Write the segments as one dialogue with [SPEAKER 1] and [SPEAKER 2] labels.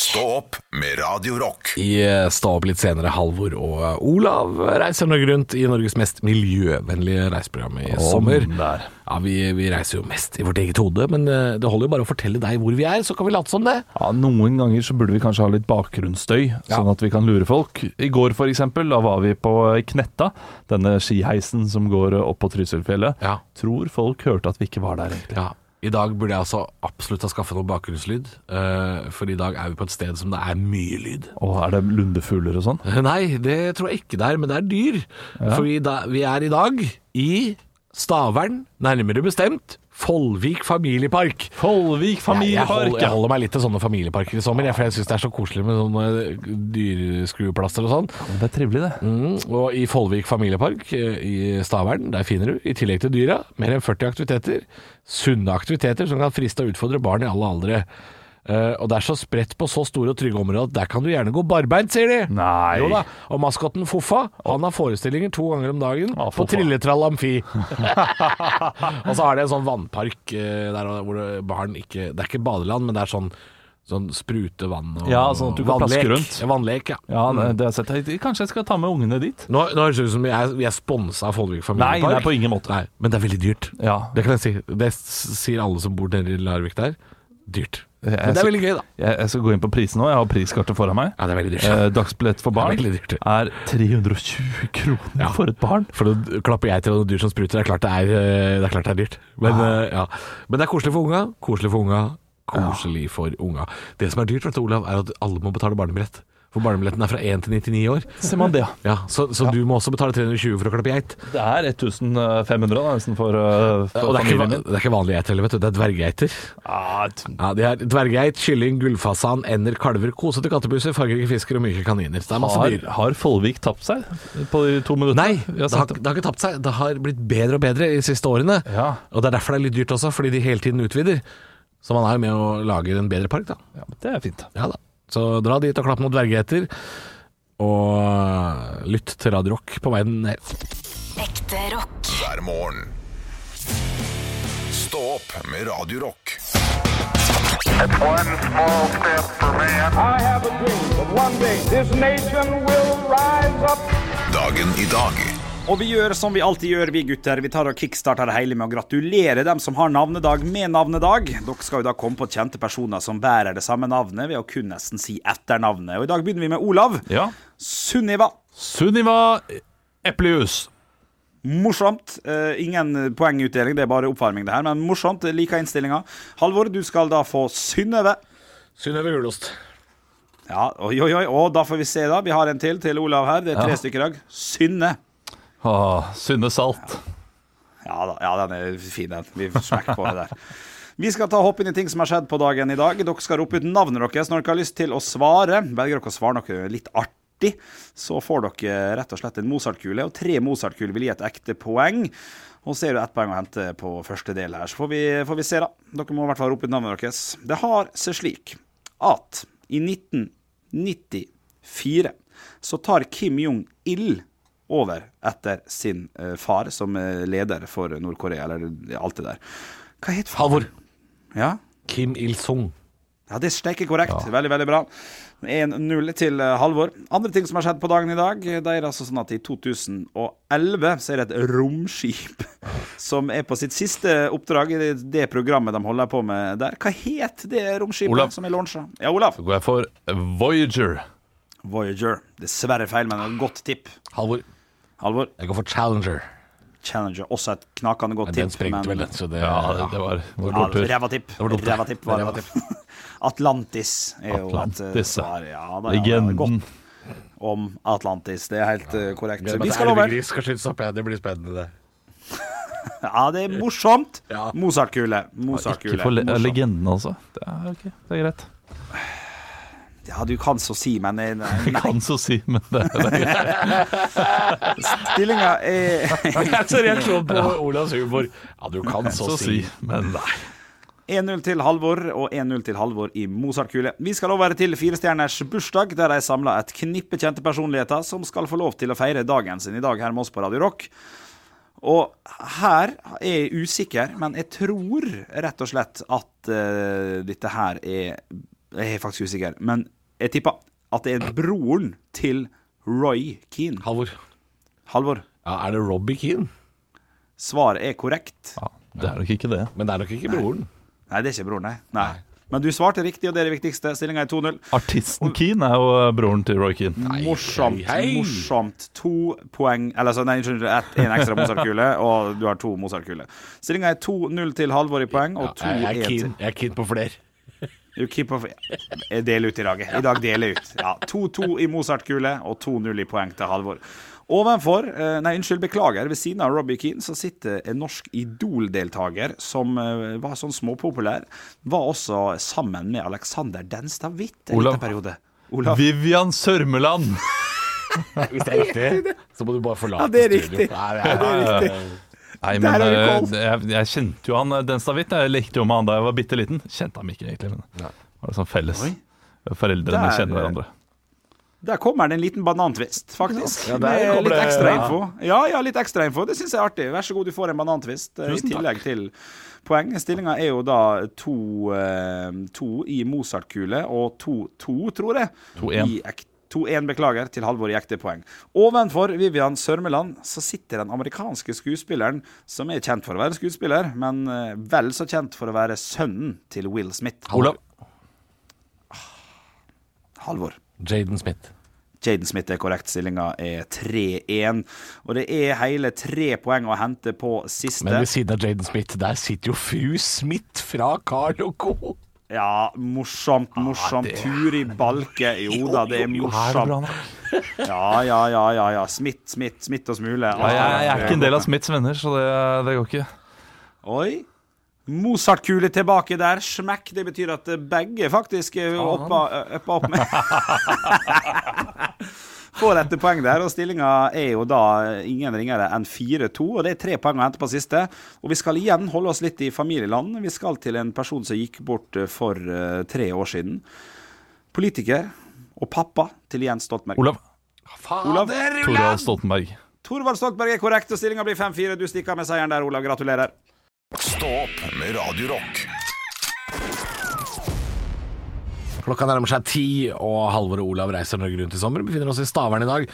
[SPEAKER 1] Stå opp med Radio Rock.
[SPEAKER 2] I eh, Stå opp litt senere, Halvor og eh, Olav reiser Norge rundt i Norges mest miljøvennlige reiseprogram i sommer.
[SPEAKER 3] der.
[SPEAKER 2] Ja, vi, vi reiser jo mest i vårt eget hode, men eh, det holder jo bare å fortelle deg hvor vi er, så kan vi late som det.
[SPEAKER 3] Ja, Noen ganger så burde vi kanskje ha litt bakgrunnsstøy, sånn at vi kan lure folk. I går for eksempel, da var vi på Knetta, denne skiheisen som går opp på Trysilfjellet.
[SPEAKER 2] Ja.
[SPEAKER 3] Tror folk hørte at vi ikke var der egentlig.
[SPEAKER 2] Ja. I dag burde jeg altså absolutt ha skaffet noe bakgrunnslyd, eh, for i dag er vi på et sted som det er mye lyd. Eh,
[SPEAKER 3] Og er det lundefugler og sånn?
[SPEAKER 2] Nei, det tror jeg ikke det er, men det er dyr. For vi, da, vi er i dag i Stavern, nærmere bestemt Follvik familiepark.
[SPEAKER 3] Folvik
[SPEAKER 2] Jeg, jeg,
[SPEAKER 3] familiepark!
[SPEAKER 2] holder, jeg holder meg litt til sånne familieparker i sommer, jeg, for jeg syns det er så koselig med sånne dyreskrueplaster og sånn.
[SPEAKER 3] Det er trivelig, det.
[SPEAKER 2] Mm, og i Follvik familiepark eh, i Stavern, der finner du, i tillegg til dyra, mer enn 40 aktiviteter. Sunne aktiviteter som kan friste og utfordre barn i alle aldre. Eh, og det er så spredt på så store og trygge områder at der kan du gjerne gå barbeint, sier de.
[SPEAKER 3] Nei.
[SPEAKER 2] Jo da. Og maskotten Foffa, han har forestillinger to ganger om dagen
[SPEAKER 3] Ah,
[SPEAKER 2] på
[SPEAKER 3] Foffa.
[SPEAKER 2] Trilletrall Amfi. og så har de en sånn vannpark eh, der hvor det- barn ikke Det er ikke badeland, men det er sånn Sånn sprute vann og
[SPEAKER 3] Ja, sånn at du kan plaske
[SPEAKER 2] vannlek.
[SPEAKER 3] rundt.
[SPEAKER 2] Ja, vannlek, ja.
[SPEAKER 3] Ja, det, det har jeg sett. Jeg- Kanskje jeg skal ta med ungene dit?
[SPEAKER 2] Nå, nå høres det ut som vi er, vi er sponsa av Follvik familiepark.
[SPEAKER 3] Nei, nei, på ingen måte.
[SPEAKER 2] Nei, men det er veldig dyrt.
[SPEAKER 3] Ja.
[SPEAKER 2] Det kan jeg si. Det s- sier alle som bor nede i Larvik der. Dyrt.
[SPEAKER 3] Jeg-
[SPEAKER 2] Men det er veldig gøy, da.
[SPEAKER 3] Jeg, jeg skal gå inn på prisen nå. Jeg har priskartet foran meg.
[SPEAKER 2] Ja, det er veldig dyrt.
[SPEAKER 3] Eh, Dagsbillett for barn
[SPEAKER 2] Det er veldig dyrt.
[SPEAKER 3] er 320 kroner for et barn.
[SPEAKER 2] For nå klapper jeg til noen dyr som spruter. Det er klart det er, eh, det er, klart det er dyrt. Men, eh, ja. Men det er koselig for unga. Koselig for unga. Koselig for unga. Det som er dyrt, vet du, Olav, er at alle må betale barnebillett. For barnebilletten er fra 1 til 99 år.
[SPEAKER 3] Ser man det, ja.
[SPEAKER 2] Ja, så så du må også betale 320 for å klappe geit.
[SPEAKER 3] Det er 1500 da, nesten for, uh,
[SPEAKER 2] Og
[SPEAKER 3] for
[SPEAKER 2] det er, ikke,
[SPEAKER 3] familien
[SPEAKER 2] va-
[SPEAKER 3] min.
[SPEAKER 2] det er ikke vanlige geit heller, vet du. Det er dverggeiter.
[SPEAKER 3] Ah, t-
[SPEAKER 2] Ja, de er dverggeit, kylling, gullfasan, ender, kalver, kosete kattebuser, fargerike fisker og myke kaniner. Så det er masse
[SPEAKER 3] har,
[SPEAKER 2] dyr.
[SPEAKER 3] har Follvik tapt seg på de to minuttene?
[SPEAKER 2] Nei,
[SPEAKER 3] Vi
[SPEAKER 2] det
[SPEAKER 3] har
[SPEAKER 2] har,
[SPEAKER 3] sagt
[SPEAKER 2] det har ikke tapt seg. Det har blitt bedre og bedre de siste årene.
[SPEAKER 3] Ja.
[SPEAKER 2] Og det er derfor det er litt dyrt også, fordi de hele tiden utvider. Så man er jo med å lage en bedre park, da.
[SPEAKER 3] ja, men det er fint.
[SPEAKER 2] Ja da. Så dra dit og klapp noen dverggeter. Og lytt til Radio Rock på veien ned.
[SPEAKER 4] Ekte rock.
[SPEAKER 1] Hver morgen. Stå opp med Radio Rock.
[SPEAKER 5] It's one small step for man.
[SPEAKER 6] I have a dream that one day this nation will rise up.
[SPEAKER 1] Dagen i dag.
[SPEAKER 7] Og vi gjør som vi alltid gjør, vi gutter. Vi tar og kickstarter det hele med å gratulere dem som har navnedag med navnedag. Dere skal jo da komme på kjente personer som bærer det samme navnet, ved å kun nesten si etternavnet. Og i dag begynner vi med Olav.
[SPEAKER 3] Ja.
[SPEAKER 7] Sunniva.
[SPEAKER 3] Sunniva Eplejus.
[SPEAKER 7] Morsomt. Eh, ingen poengutdeling, det er bare oppvarming, det her. Men morsomt. Jeg Liker innstillinga. Halvor, du skal da få Synnøve.
[SPEAKER 2] Synnøve Gulost.
[SPEAKER 7] Ja, oi, oi, oi. Og da får vi se, da. Vi har en til til Olav her. Det er tre stykker i dag. Synne.
[SPEAKER 3] Ah, Synne Salt.
[SPEAKER 7] Ja, da, ja, den er fin, den. Vi smekker på det der. Vi skal ta og hoppe inn i ting som har skjedd på dagen i dag. Dere skal rope ut navnet deres når dere har lyst til å svare. Velger dere å svare noe litt artig, så får dere rett og slett en Mozart-kule. Og tre Mozart-kuler vil gi et ekte poeng. Og så er det ett poeng å hente på første del her. Så får vi, får vi se, da. Dere må i hvert fall rope ut navnet deres. Det har seg slik at i 1994 så tar Kim Jong-il over etter sin eh, far som eh, leder for Nord-Korea, eller alt det der. Hva het far?
[SPEAKER 2] Halvor.
[SPEAKER 7] Ja?
[SPEAKER 2] Kim Il-sung.
[SPEAKER 7] Ja, det steiker korrekt. Veldig, veldig bra. 1-0 til eh, Halvor. Andre ting som har skjedd på dagen i dag, eh, det er altså sånn at i 2011 så er det et romskip som er på sitt siste oppdrag i det- det programmet de holder på med der. Hva het det romskipet
[SPEAKER 3] Olav.
[SPEAKER 7] som er launchet? Ja, Olav.
[SPEAKER 3] Så går jeg for Voyager.
[SPEAKER 7] Voyager. Dessverre feil, men et godt tipp.
[SPEAKER 2] Halvor.
[SPEAKER 7] Halvor,
[SPEAKER 2] Jeg går for Challenger.
[SPEAKER 7] Challenger. Også et knakende godt
[SPEAKER 2] Men
[SPEAKER 7] tipp.
[SPEAKER 2] den sprengte vel,
[SPEAKER 7] men-
[SPEAKER 2] den, så det,
[SPEAKER 3] Ja, det, det var, det var
[SPEAKER 7] Ja,
[SPEAKER 3] kort tur.
[SPEAKER 7] ræva tipp. Ræva tipp var det. Atlantis er jo et eh,
[SPEAKER 3] Atlantis, ja.
[SPEAKER 7] svar. Ja, da, ja, da,
[SPEAKER 3] Legenden.
[SPEAKER 7] godt om Atlantis. Det er helt eh, korrekt.
[SPEAKER 2] Gleder meg
[SPEAKER 7] Vi
[SPEAKER 2] til
[SPEAKER 7] skal over.
[SPEAKER 2] elvegris skal skytes opp, ja. Det blir spennende, det.
[SPEAKER 7] Ja, det er morsomt.
[SPEAKER 2] Ja.
[SPEAKER 7] Mozart-kule.
[SPEAKER 3] Ikke for
[SPEAKER 7] Mozart-kule.
[SPEAKER 3] le
[SPEAKER 7] Morsomt.
[SPEAKER 3] legenden, altså. Det er, ok, det er greit.
[SPEAKER 7] Ja, du kan så si, men eh,
[SPEAKER 3] Jeg
[SPEAKER 7] nei.
[SPEAKER 3] kan så si, men det, det er greit.
[SPEAKER 7] Stillinga er
[SPEAKER 2] Så reaksjonen på Olavs humor Ja, du kan så,
[SPEAKER 3] Så si,
[SPEAKER 2] si.
[SPEAKER 3] men nei.
[SPEAKER 7] 1-0 til Halvor og 1-0 til Halvor i Mozart-kule. Vi skal over til Firestjerners bursdag, der de samla et knippe kjente personligheter som skal få lov til å feire dagen sin i dag her med oss på Radio Rock. Og her er jeg usikker, men jeg tror rett og slett at eh, dette her er Jeg er faktisk usikker, men jeg tipper at det er broren til Roy Keane.
[SPEAKER 2] Halvor.
[SPEAKER 7] Halvor,
[SPEAKER 2] Ja, er det Robbie Keane?
[SPEAKER 7] svaret er korrekt.
[SPEAKER 3] Ja, det er nok ikke det.
[SPEAKER 2] Men det er nok ikke broren.
[SPEAKER 7] Nei, det er ikke broren, nei. nei. Men du svarte riktig, og det er det viktigste. Stillinga er 2-0.
[SPEAKER 3] Artisten Keane er jo eh, broren til Roy Keane.
[SPEAKER 7] Morsomt.
[SPEAKER 2] hei, hei.
[SPEAKER 7] morsomt To poeng Eller så, nei, unnskyld. ett- En ekstra Mozart-kule, og du har to Mozart-kuler. Stillinga er 2-0 til Halvor i poeng, og 2-1
[SPEAKER 2] jeg, jeg, er
[SPEAKER 7] til
[SPEAKER 2] keen, jeg er keen på flere.
[SPEAKER 7] You keep off Jeg deler ut i dag. jeg. I dag deler jeg ut. Ja, 2-2 i Mozart-kule og 2-0 i poeng til Halvor. Ovenfor, eh, nei unnskyld, beklager, ved siden av Robbie Keane så sitter en norsk Idol-deltaker som eh, var sånn småpopulær. Var også sammen med Alexander Denstad Hvitt en
[SPEAKER 3] Olav.
[SPEAKER 7] liten periode. Olav.
[SPEAKER 3] Vivian Sørmeland!
[SPEAKER 2] Hvis det er riktig, så må du bare forlate
[SPEAKER 7] Ja, det er
[SPEAKER 2] studio.
[SPEAKER 7] riktig.
[SPEAKER 2] Nei, det er,
[SPEAKER 3] Nei,
[SPEAKER 7] Der
[SPEAKER 3] men
[SPEAKER 7] har du
[SPEAKER 3] eh,
[SPEAKER 7] koll.
[SPEAKER 3] jeg, jeg kjente jo han eh, Denstavit. Jeg lekte jo med han da jeg var bitte liten. Kjente ham ikke egentlig, men det var sånn felles.
[SPEAKER 7] Oi.
[SPEAKER 3] Foreldrene
[SPEAKER 7] Der,
[SPEAKER 3] kjenner hverandre.
[SPEAKER 7] Der kommer det en liten banantvist, faktisk.
[SPEAKER 2] Ja, der
[SPEAKER 7] Med
[SPEAKER 2] kommer
[SPEAKER 7] litt
[SPEAKER 2] det-
[SPEAKER 7] ekstra
[SPEAKER 2] ja.
[SPEAKER 7] info. Ja, ja, litt ekstra info. Det syns jeg er artig. Vær så god, du får en banantvist eh, i
[SPEAKER 3] Tusen
[SPEAKER 7] tillegg til poeng. Stillinga er jo da to, eh, to i Mozart-kule og to, to tror jeg.
[SPEAKER 3] 2-1.
[SPEAKER 7] i ek- 2-1, beklager, til Halvor i ekte poeng. Ovenfor Vivian Sørmeland så sitter den amerikanske skuespilleren som er kjent for å være skuespiller, men eh, vel så kjent for å være sønnen til Will Smith.
[SPEAKER 3] Olav.
[SPEAKER 7] Halvor.
[SPEAKER 2] Jaden Smith.
[SPEAKER 7] Jaden Smith er korrekt. Stillinga er 3-1. Og det er hele tre poeng å hente på
[SPEAKER 2] Men
[SPEAKER 7] siste.
[SPEAKER 2] ved siden av Jaden Smith, der sitter jo fru Smith fra Carl Co.
[SPEAKER 7] Ja, morsomt,
[SPEAKER 3] Ah,
[SPEAKER 7] morsomt. Turi Balke. Jo da, det er morsomt. Ja, ja, ja. ja, ja. Smith, Smith, Smith og Smule.
[SPEAKER 3] Ja, jeg, jeg er ikke en del av Smiths venner, så det, det går ikke.
[SPEAKER 7] Oi. Mozart-kule tilbake der. Smekk. Det betyr at eh, begge faktisk eh, er oppa, oppa opp med Får et poeng der, og stillinga er jo da eh, ingen ringere enn 4-2. Og det er tre poeng å hente på siste. Og vi skal igjen holde oss litt i familieland. Vi skal til en person som gikk bort eh, for eh, tre år siden. Politiker og pappa til Jens Stoltenberg.
[SPEAKER 3] Olav.
[SPEAKER 7] Olav.
[SPEAKER 3] Torvald Stoltenberg.
[SPEAKER 7] Torvald Stoltenberg er korrekt, og stillinga blir 5-4. Du stikker av med seieren der, Olav. Gratulerer.
[SPEAKER 1] Stå opp med Radio Rock.
[SPEAKER 2] Klokka nærmer seg ti, og Halvor og Olav reiser Norge rundt i sommer. Befinner oss i Stavern i dag,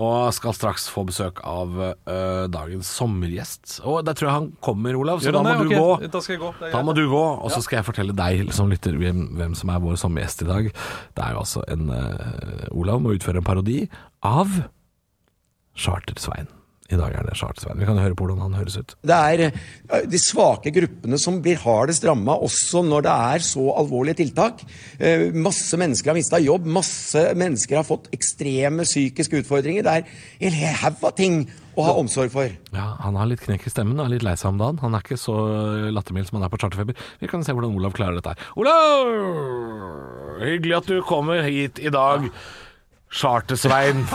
[SPEAKER 2] og skal straks få besøk av øh, dagens sommergjest. Og der tror jeg han kommer, Olav, så da må du gå.
[SPEAKER 3] Da skal jeg gå. Det
[SPEAKER 2] Da må du gå, og så skal jeg fortelle deg som lytter hvem, hvem som er vår sommergjest i dag. Det er jo altså en øh, Olav må utføre en parodi av Charter-Svein. I dag er det Charter-Svein. Vi kan høre på hvordan han høres ut.
[SPEAKER 8] Det er eh, de svake gruppene som blir hardest ramma, også når det er så alvorlige tiltak. Eh, Masse mennesker har mista jobb, masse mennesker har fått ekstreme psykiske utfordringer. Det er en hel haug av ting å ha omsorg for.
[SPEAKER 2] Ja, Han har litt knekk i stemmen og er litt lei seg om dagen. Han er ikke så eh, lattermild som han er på charterfeber. Vi kan se hvordan Olav klarer dette her. Olav! Hyggelig at du kommer hit i dag, Charter-Svein.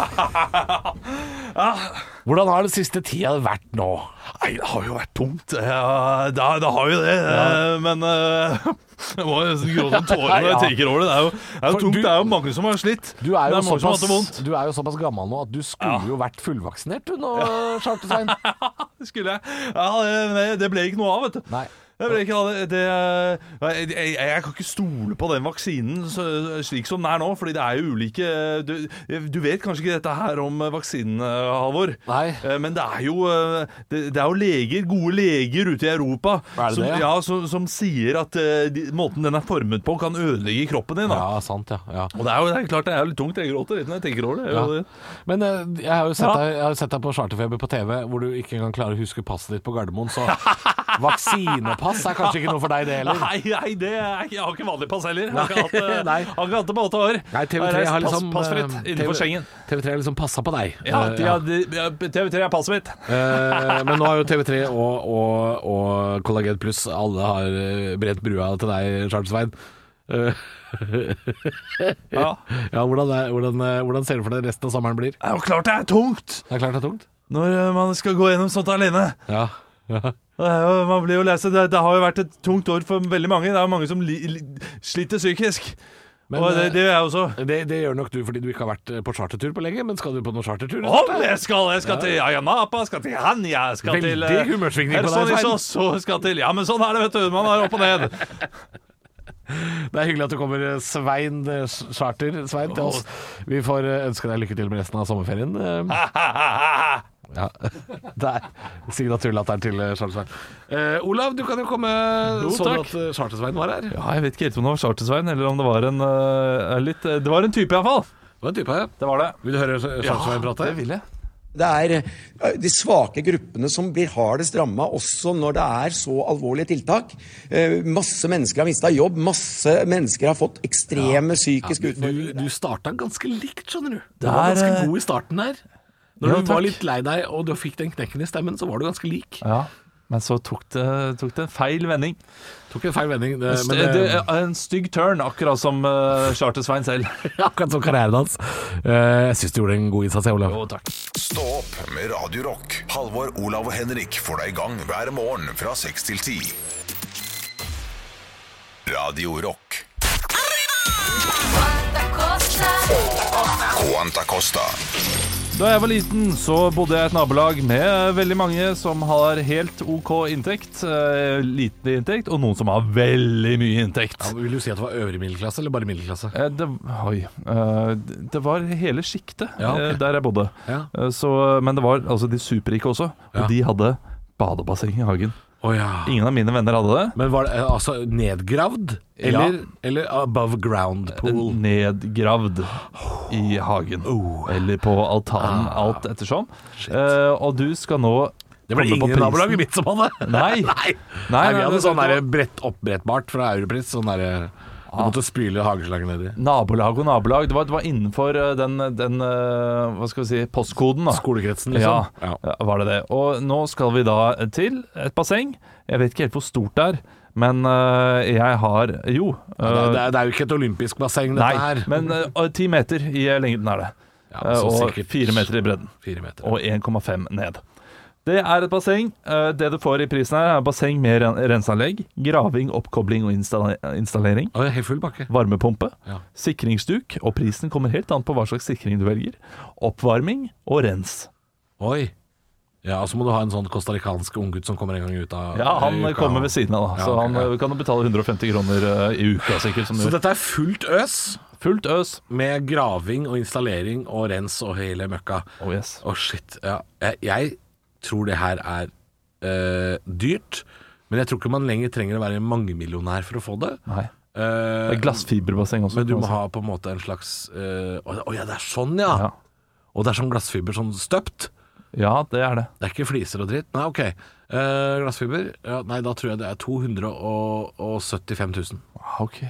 [SPEAKER 2] Hvordan har den siste tida vært nå?
[SPEAKER 3] Nei, det har jo vært tungt. Ja, det, det har jo det. Eh, Men eh, jeg må nesten gråte en tåre når jeg
[SPEAKER 2] Ja.
[SPEAKER 3] tenker over det. Det er jo, det er
[SPEAKER 2] For
[SPEAKER 3] jo tungt.
[SPEAKER 2] du-
[SPEAKER 3] det er jo mange som har slitt.
[SPEAKER 2] Du er,
[SPEAKER 3] det
[SPEAKER 2] jo
[SPEAKER 3] er mange som har hatt det vondt.
[SPEAKER 2] såpass, du er jo såpass gammel nå at du skulle jo vært fullvaksinert du nå, Charter-Svein.
[SPEAKER 3] Det skulle jeg. Ja, det- det, det ble ikke noe av, vet du.
[SPEAKER 2] Nei.
[SPEAKER 3] Det ble ikke, av det, det, Nei, jeg, jeg, jeg kan ikke stole på den vaksinen så, slik som den er nå, fordi det er jo ulike du, du vet kanskje ikke dette her om vaksinen, eh, Halvor,
[SPEAKER 2] Nei.
[SPEAKER 3] Eh, men det er, jo, eh, det, det er jo leger, gode leger ute i Europa
[SPEAKER 2] Er det
[SPEAKER 3] som,
[SPEAKER 2] det, ja?
[SPEAKER 3] ja, som, som sier at eh, de, måten den er formet på, kan ødelegge kroppen din. Da.
[SPEAKER 2] Ja, sant, ja. ja.
[SPEAKER 3] Og det er jo det er klart det er jo litt tungt. Jeg gråter litt når jeg tenker over det.
[SPEAKER 2] Ja.
[SPEAKER 3] det.
[SPEAKER 2] Men eh, jeg har jo sett
[SPEAKER 3] Ja.
[SPEAKER 2] deg, jeg har jo sett deg på charterfeber på TV, hvor du ikke engang klarer å huske passet ditt på Gardermoen, så vaksinepass er kanskje ikke noe for deg, det heller.
[SPEAKER 3] Nei, nei det er, ikke- jeg har ikke vanlig pass heller. Jeg har ikke hatt, det-
[SPEAKER 2] Nei.
[SPEAKER 3] jeg har ikke hatt det på åtte år.
[SPEAKER 2] Nei, TV3
[SPEAKER 3] Jeg
[SPEAKER 2] har
[SPEAKER 3] reist
[SPEAKER 2] liksom
[SPEAKER 3] pass, Passfritt
[SPEAKER 2] eh,
[SPEAKER 3] innenfor
[SPEAKER 2] TV
[SPEAKER 3] Schengen.
[SPEAKER 2] TV3 har liksom passa på deg.
[SPEAKER 3] Ja,
[SPEAKER 2] Eh,
[SPEAKER 3] de,
[SPEAKER 2] ja.
[SPEAKER 3] har- de, ja, TV3 er passet mitt.
[SPEAKER 2] Eh, men nå har jo TV3 og, og, og Kollagen Pluss alle har eh, brent brua til deg, Charles-Svein.
[SPEAKER 3] Ja.
[SPEAKER 2] Ja, hvordan, er, hvordan, eh, hvordan ser du for deg resten av sommeren blir?
[SPEAKER 3] Det er jo klart det er tungt
[SPEAKER 2] Det er klart det er tungt.
[SPEAKER 3] når eh, man skal gå gjennom sånt alene.
[SPEAKER 2] Ja. ja.
[SPEAKER 3] Det er jo- Man blir jo lei seg. Det, det har jo vært et tungt år for veldig mange. Det er jo mange som li, li, sliter psykisk.
[SPEAKER 2] Men,
[SPEAKER 3] Og det, det gjør jeg også.
[SPEAKER 2] eh, det, det gjør nok du fordi du ikke har vært eh, på chartertur på lenge, men skal du på noen chartertur?
[SPEAKER 3] Om jeg skal! Jeg skal til Ayanapa, skal til Hanya, skal
[SPEAKER 2] Veldig
[SPEAKER 3] til eh,
[SPEAKER 2] humørsvingning på deg,
[SPEAKER 3] Hersonisos, og skal til Ja, men sånn er det, vet du. Man er opp og ned.
[SPEAKER 2] Det er hyggelig at du kommer, eh, Svein eh, s- Charter Svein, til oss. Vi får eh, ønske deg lykke til med resten av sommerferien. eh. Ja. Der. Signaturlatteren til eh, Charter Svein. Eh, Olav, du kan jo komme.
[SPEAKER 3] Jo,
[SPEAKER 2] så du
[SPEAKER 3] takk.
[SPEAKER 2] at eh, Charter Svein var her?
[SPEAKER 3] Ja, jeg vet ikke helt om det var Charter-Svein, eller om det var en eh, litt eh, Det var en type, iallfall.
[SPEAKER 2] Det var en type.
[SPEAKER 3] Det var det.
[SPEAKER 2] Vil du høre Charter Svein prate?
[SPEAKER 3] det vil jeg.
[SPEAKER 8] Det er eh, de svake gruppene som blir hardest ramma, også når det er så alvorlige tiltak. Eh, Masse mennesker har mista jobb, masse mennesker har fått ekstreme psykiske utfordringer.
[SPEAKER 2] Du, du starta ganske likt, skjønner du. Du
[SPEAKER 3] Der,
[SPEAKER 2] var ganske
[SPEAKER 3] eh,
[SPEAKER 2] god i starten der. Når
[SPEAKER 3] Ja,
[SPEAKER 2] du var
[SPEAKER 3] takk.
[SPEAKER 2] litt lei deg og du fikk den knekken i stemmen, så var du ganske lik.
[SPEAKER 3] Ja, men så tok det, tok det en feil vending.
[SPEAKER 2] Tok en feil vending, det,
[SPEAKER 3] St-
[SPEAKER 2] men eh, det,
[SPEAKER 3] det, er en stygg turn, akkurat som eh, Charter-Svein selv.
[SPEAKER 2] akkurat som karrieren hans. Eh, Jeg syns du gjorde en god innsats, jeg, Olav.
[SPEAKER 3] Jo, takk.
[SPEAKER 1] Stå opp med Radio Rock. Halvor, Olav og Henrik får deg i gang hver morgen fra 6 til 10. Radio Rock. Quanta Costa.
[SPEAKER 3] Da jeg var liten, så bodde jeg i et nabolag med veldig mange som har helt OK inntekt, eh, liten inntekt, og noen som har veldig mye inntekt.
[SPEAKER 2] Ja, men vil du si at det var øvre middelklasse, eller bare middelklasse?
[SPEAKER 3] Eh, Det, oi, eh, det var hele sjiktet
[SPEAKER 2] Ja, ok.
[SPEAKER 3] eh, der jeg bodde.
[SPEAKER 2] Ja.
[SPEAKER 3] Eh, Så, men det var altså de superrike også, og
[SPEAKER 2] Ja.
[SPEAKER 3] de hadde badebasseng i hagen.
[SPEAKER 2] Å ja.
[SPEAKER 3] Ingen av mine venner hadde det.
[SPEAKER 2] Men var det eh, altså nedgravd, eller, eller above
[SPEAKER 3] Eh,
[SPEAKER 2] ground pool?
[SPEAKER 3] Nedgravd i hagen.
[SPEAKER 2] Oh.
[SPEAKER 3] Eller på altanen, alt ettersom. Eh, og du skal nå
[SPEAKER 2] Ah. Det var det
[SPEAKER 3] komme på
[SPEAKER 2] ingen i
[SPEAKER 3] prisen.
[SPEAKER 2] nabolaget mitt som hadde.
[SPEAKER 3] Nei.
[SPEAKER 2] Nei.
[SPEAKER 3] Nei,
[SPEAKER 2] Nei, vi
[SPEAKER 3] nei,
[SPEAKER 2] hadde
[SPEAKER 3] det-
[SPEAKER 2] sånn der
[SPEAKER 3] det-
[SPEAKER 2] brett oppbrettbart fra Europris. Sånn der, du
[SPEAKER 3] Ah.
[SPEAKER 2] måtte spyle hageslangen nedi.
[SPEAKER 3] Nabolag og nabolag. Det var, det var innenfor eh, den, den eh, hva skal vi si, postkoden. da
[SPEAKER 2] Skolekretsen, liksom.
[SPEAKER 3] Ah. Ja,
[SPEAKER 2] Ja.
[SPEAKER 3] var det det. Og nå skal vi da til et basseng. Jeg vet ikke helt hvor stort det er, men eh, jeg har Jo.
[SPEAKER 2] Det
[SPEAKER 3] eh,
[SPEAKER 2] er, det er- det er jo ikke et olympisk basseng, dette
[SPEAKER 3] nei,
[SPEAKER 2] her.
[SPEAKER 3] men eh, ti meter i lengden er det.
[SPEAKER 2] Ja, men så
[SPEAKER 3] Eh, og
[SPEAKER 2] sikkert-
[SPEAKER 3] fire meter i bredden.
[SPEAKER 2] Fire meter.
[SPEAKER 3] Og 1,5 ned. Det er et basseng. Eh, det du får i prisen her, er basseng med ren renseanlegg, graving, oppkobling og installe installering.
[SPEAKER 2] Å, helt full bakke.
[SPEAKER 3] varmepumpe,
[SPEAKER 2] Ja.
[SPEAKER 3] sikringsduk, og prisen kommer helt an på hva slags sikring du velger, oppvarming og rens.
[SPEAKER 2] Oi. Ja, og så må du ha en sånn costaricansk unggutt som kommer en gang ut av
[SPEAKER 3] Ja, han
[SPEAKER 2] uka.
[SPEAKER 3] kommer ved siden av, da,
[SPEAKER 2] Ja,
[SPEAKER 3] så
[SPEAKER 2] ok,
[SPEAKER 3] han
[SPEAKER 2] ja.
[SPEAKER 3] eh, kan jo betale 150 kroner eh, i uka, sikkert. Som
[SPEAKER 2] Så
[SPEAKER 3] gjør.
[SPEAKER 2] dette er fullt øs,
[SPEAKER 3] Fullt øs.
[SPEAKER 2] med graving og installering og rens og hele møkka. Å,
[SPEAKER 3] Oh yes.
[SPEAKER 2] shit. Ja. Jeg, jeg tror det her er eh, dyrt, men jeg tror ikke man lenger trenger å være mangemillionær for å få det.
[SPEAKER 3] Nei.
[SPEAKER 2] Eh,
[SPEAKER 3] Det er glassfiberbasseng også.
[SPEAKER 2] Men du
[SPEAKER 3] kan
[SPEAKER 2] må
[SPEAKER 3] man si.
[SPEAKER 2] ha på en måte en slags eh, Å å ja, det er sånn, ja.
[SPEAKER 3] Ja.
[SPEAKER 2] Og det er sånn glassfiber sånn støpt.
[SPEAKER 3] ja, det er det.
[SPEAKER 2] Det er ikke fliser og dritt. Nei, OK. Eh, glassfiber ja, Nei, da tror jeg det er 275 000.
[SPEAKER 3] Ah, ok.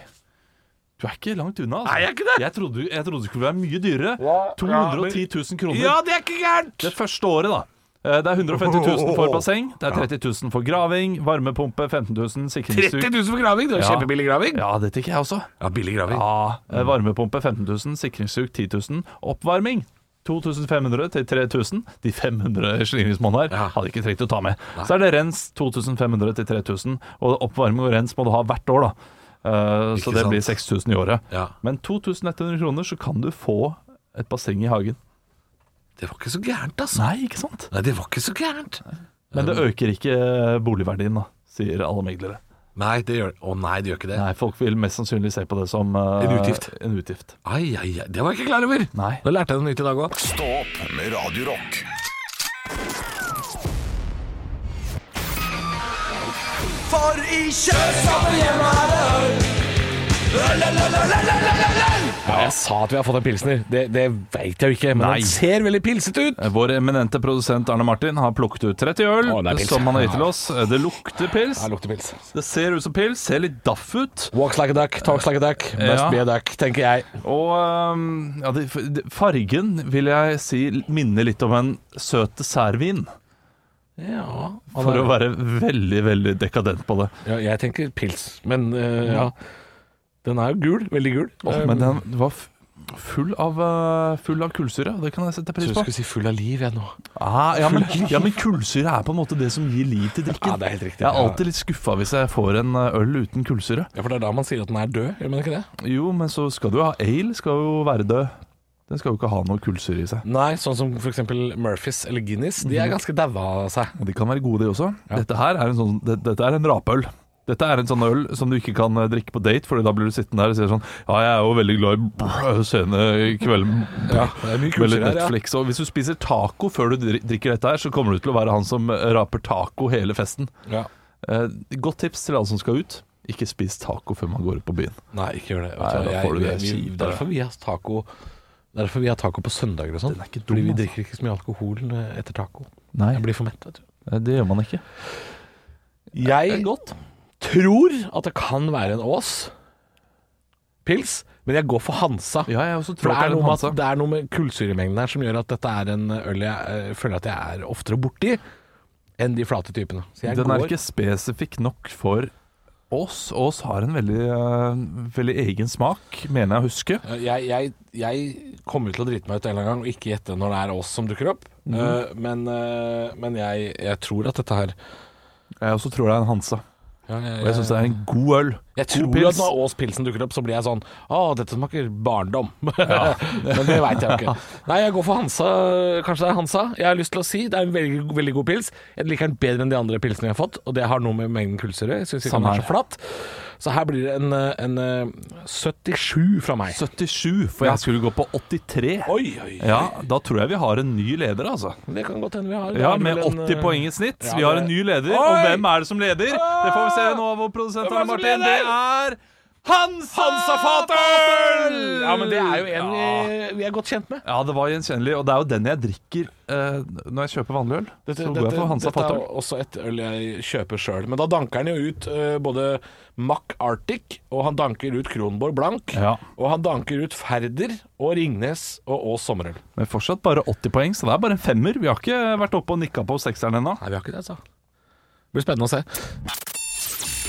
[SPEAKER 3] Du er ikke langt unna. Altså.
[SPEAKER 2] Nei, jeg er ikke det.
[SPEAKER 3] Jeg trodde, jeg trodde det skulle være mye dyrere. 210 000 kroner.
[SPEAKER 2] det er ikke gærent!
[SPEAKER 3] Det første året, da. Eh, Det er 150 000 for basseng, det er 30 000 for graving, varmepumpe 15 000,
[SPEAKER 2] 30
[SPEAKER 3] sikringsduk
[SPEAKER 2] 000 for graving! Det er jo
[SPEAKER 3] Ja.
[SPEAKER 2] kjempebillig graving.
[SPEAKER 3] Ja, det tenker jeg også.
[SPEAKER 2] Ja, billig graving.
[SPEAKER 3] Ja, eh, Varmepumpe 15 000, sikringssug 10 000, oppvarming 2500 til 3000. De 500 slingringsmonnene her
[SPEAKER 2] Ja.
[SPEAKER 3] hadde ikke trengt å ta med. Så er det rens 2500 til 3000, og oppvarming og rens må du ha hvert år, da. Eh, så
[SPEAKER 2] Ikke
[SPEAKER 3] det
[SPEAKER 2] sant.
[SPEAKER 3] blir 6000 i året.
[SPEAKER 2] Ja.
[SPEAKER 3] Men 2100 kroner, så kan du få et basseng i hagen.
[SPEAKER 2] Det var ikke Eh. så gærent, altså.
[SPEAKER 3] Nei, ikke sant?
[SPEAKER 2] Nei, det var ikke så gærent.
[SPEAKER 3] Men det øker ikke eh, boligverdien, da, sier alle meglere.
[SPEAKER 2] Nei, det gjør Å nei, det gjør ikke det.
[SPEAKER 3] Nei, folk vil mest sannsynlig se på det som eh,
[SPEAKER 2] En utgift.
[SPEAKER 3] En utgift.
[SPEAKER 2] Ai, ai, ai. Det var jeg ikke klar over.
[SPEAKER 3] Nei.
[SPEAKER 2] Da lærte jeg noe nytt i dag òg.
[SPEAKER 1] Stå opp med Radio Rock.
[SPEAKER 2] Ja, jeg sa at vi har fått en pilsner. Det, det veit jeg jo ikke, men
[SPEAKER 3] Nei.
[SPEAKER 2] den ser veldig pilsete ut.
[SPEAKER 3] Vår eminente produsent Arne Martin har plukket ut 30 øl
[SPEAKER 2] Å, det er pils.
[SPEAKER 3] som han har gitt til oss. Det lukter pils.
[SPEAKER 2] Ja, lukter pils.
[SPEAKER 3] Det ser ut som pils, ser litt daff ut.
[SPEAKER 2] Walks like a duck, talks like a duck, must
[SPEAKER 3] Ja.
[SPEAKER 2] be a duck, tenker jeg.
[SPEAKER 3] Og øhm, ja, det, det- fargen vil jeg si minner litt om en søt dessertvin.
[SPEAKER 2] Ja,
[SPEAKER 3] For å være veldig, veldig dekadent på det.
[SPEAKER 2] Jeg Mm. tenker pils, men eh, ja. Den er jo gul, veldig gul.
[SPEAKER 3] Åh, men den var f Full av, eh, full av kullsyre. Det kan jeg sette
[SPEAKER 2] Så
[SPEAKER 3] pris
[SPEAKER 2] jeg
[SPEAKER 3] på.
[SPEAKER 2] skulle si full av liv, jeg nå.
[SPEAKER 3] Ah, ja, men, ja, men kullsyre er på en måte det som gir liv til drikken.
[SPEAKER 2] Ja, det er helt riktig.
[SPEAKER 3] Jeg er alltid litt skuffa hvis jeg får en eh, øl uten kullsyre.
[SPEAKER 2] Ja, for det er da man sier at den er død, gjør man ikke det?
[SPEAKER 3] Jo, men så skal du ha ale, skal jo være død. Den skal jo ikke ha noe kullsyre i seg.
[SPEAKER 2] Nei, sånn som f.eks. Murphys eller Guinness. De er ganske daua av seg.
[SPEAKER 3] Og de kan være gode, de også. Dette her er en sånn det, Dette er en rapøl. Dette er en sånn øl som du ikke kan eh, drikke på date, Fordi da blir du sittende der og sier sånn Ja, jeg er jo veldig glad i brr, sene i kvelden.
[SPEAKER 2] Ja, det er mye
[SPEAKER 3] Veldig
[SPEAKER 2] kulere her, ja.
[SPEAKER 3] Netflix. Og hvis du spiser taco før du dri- drikker dette her, så kommer du til å være han som eh, raper taco hele festen.
[SPEAKER 2] Ja.
[SPEAKER 3] Eh, godt tips til alle som skal ut. Ikke spis taco før man går ut på byen.
[SPEAKER 2] Nei, ikke gjør det.
[SPEAKER 3] Nei,
[SPEAKER 2] Vet du hva,
[SPEAKER 3] da
[SPEAKER 2] jeg-
[SPEAKER 3] får du det
[SPEAKER 2] vi- vi-
[SPEAKER 3] kjipt, da.
[SPEAKER 2] derfor vi har taco Derfor vi har taco på søndager og sånn.
[SPEAKER 3] Den er ikke dum,
[SPEAKER 2] Fordi vi
[SPEAKER 3] altså.
[SPEAKER 2] drikker ikke så mye alkohol eh, etter taco.
[SPEAKER 3] Nei,
[SPEAKER 2] Jeg blir for mett, vet du.
[SPEAKER 3] Eh, det gjør man ikke.
[SPEAKER 2] Jeg
[SPEAKER 3] Det er godt.
[SPEAKER 2] tror at det kan være en Ås pils, men jeg går for Hansa.
[SPEAKER 3] Ja, jeg også
[SPEAKER 2] For
[SPEAKER 3] tror
[SPEAKER 2] det er,
[SPEAKER 3] en
[SPEAKER 2] noe med
[SPEAKER 3] Hansa.
[SPEAKER 2] at, det er noe med kullsyremengden her som gjør at dette er en øl jeg eh, føler at jeg er oftere borti enn de flate typene. Så jeg
[SPEAKER 3] Den er
[SPEAKER 2] går
[SPEAKER 3] ikke spesifikk nok for oss. Ås har en veldig, eh, veldig egen smak, mener jeg å huske.
[SPEAKER 2] Jeg, jeg, jeg kommer til å drite meg ut en eller annen gang og ikke gjette når det er oss som dukker opp.
[SPEAKER 3] Mhm.
[SPEAKER 2] Eh, men eh, men jeg, jeg tror at dette her
[SPEAKER 3] Jeg også Eh, tror det er en Hansa.
[SPEAKER 2] ja, jeg,
[SPEAKER 3] Og jeg syns det er en god øl.
[SPEAKER 2] jeg
[SPEAKER 3] god
[SPEAKER 2] tror at når Ås Pilsen dukker opp, så blir jeg sånn Å, dette smaker barndom. men det veit jeg jo ikke. Nei, jeg går for Hansa. Kanskje det er Hansa. Jeg har lyst til å si det er en veldig, veldig god pils. Jeg liker den bedre enn de andre pilsene jeg har fått, og det har noe med mengden kullsyre Jeg syns ikke
[SPEAKER 3] Samme
[SPEAKER 2] den er
[SPEAKER 3] her.
[SPEAKER 2] så flatt. Så her blir det en, eh, en eh, 77 fra meg.
[SPEAKER 3] 77, for jeg skulle gå på 83.
[SPEAKER 2] Oi, oi, oi.
[SPEAKER 3] Ja, da tror jeg vi har en ny leder, altså.
[SPEAKER 2] Det kan godt hende vi har. Det
[SPEAKER 3] Ja,
[SPEAKER 2] er
[SPEAKER 3] med
[SPEAKER 2] vel en,
[SPEAKER 3] 80
[SPEAKER 2] eh,
[SPEAKER 3] poeng i snitt.
[SPEAKER 2] ja,
[SPEAKER 3] Vi har
[SPEAKER 2] det-
[SPEAKER 3] en ny leder,
[SPEAKER 2] Oi!
[SPEAKER 3] og hvem er det som leder? Det får vi se nå av vår produsent
[SPEAKER 2] Hvem er det
[SPEAKER 3] Arne
[SPEAKER 2] som
[SPEAKER 3] Martin. Det
[SPEAKER 2] leder?
[SPEAKER 3] er Hansa
[SPEAKER 2] Hansa
[SPEAKER 3] Fatøl!
[SPEAKER 2] Ja, men det er jo en eh,
[SPEAKER 3] Ja.
[SPEAKER 2] vi, vi er godt kjent med.
[SPEAKER 3] Ja, det var gjenkjennelig, og det er jo den jeg drikker eh, når jeg kjøper vanlig øl. så går jeg for
[SPEAKER 2] dette
[SPEAKER 3] Hansa
[SPEAKER 2] er
[SPEAKER 3] Fatøl.
[SPEAKER 2] jo også et øl jeg kjøper sjøl. Men da danker han jo ut eh, både Mack Arctic, og han danker ut Kronborg Blank.
[SPEAKER 3] Ja.
[SPEAKER 2] Og han danker ut Færder og Ringnes og Ås Sommerøl. Nei,
[SPEAKER 3] Men fortsatt bare 80 poeng, så det er bare en femmer. Vi har ikke vært oppe og nikka på sekseren ennå.
[SPEAKER 2] vi har ikke det, altså. Det blir spennende å se.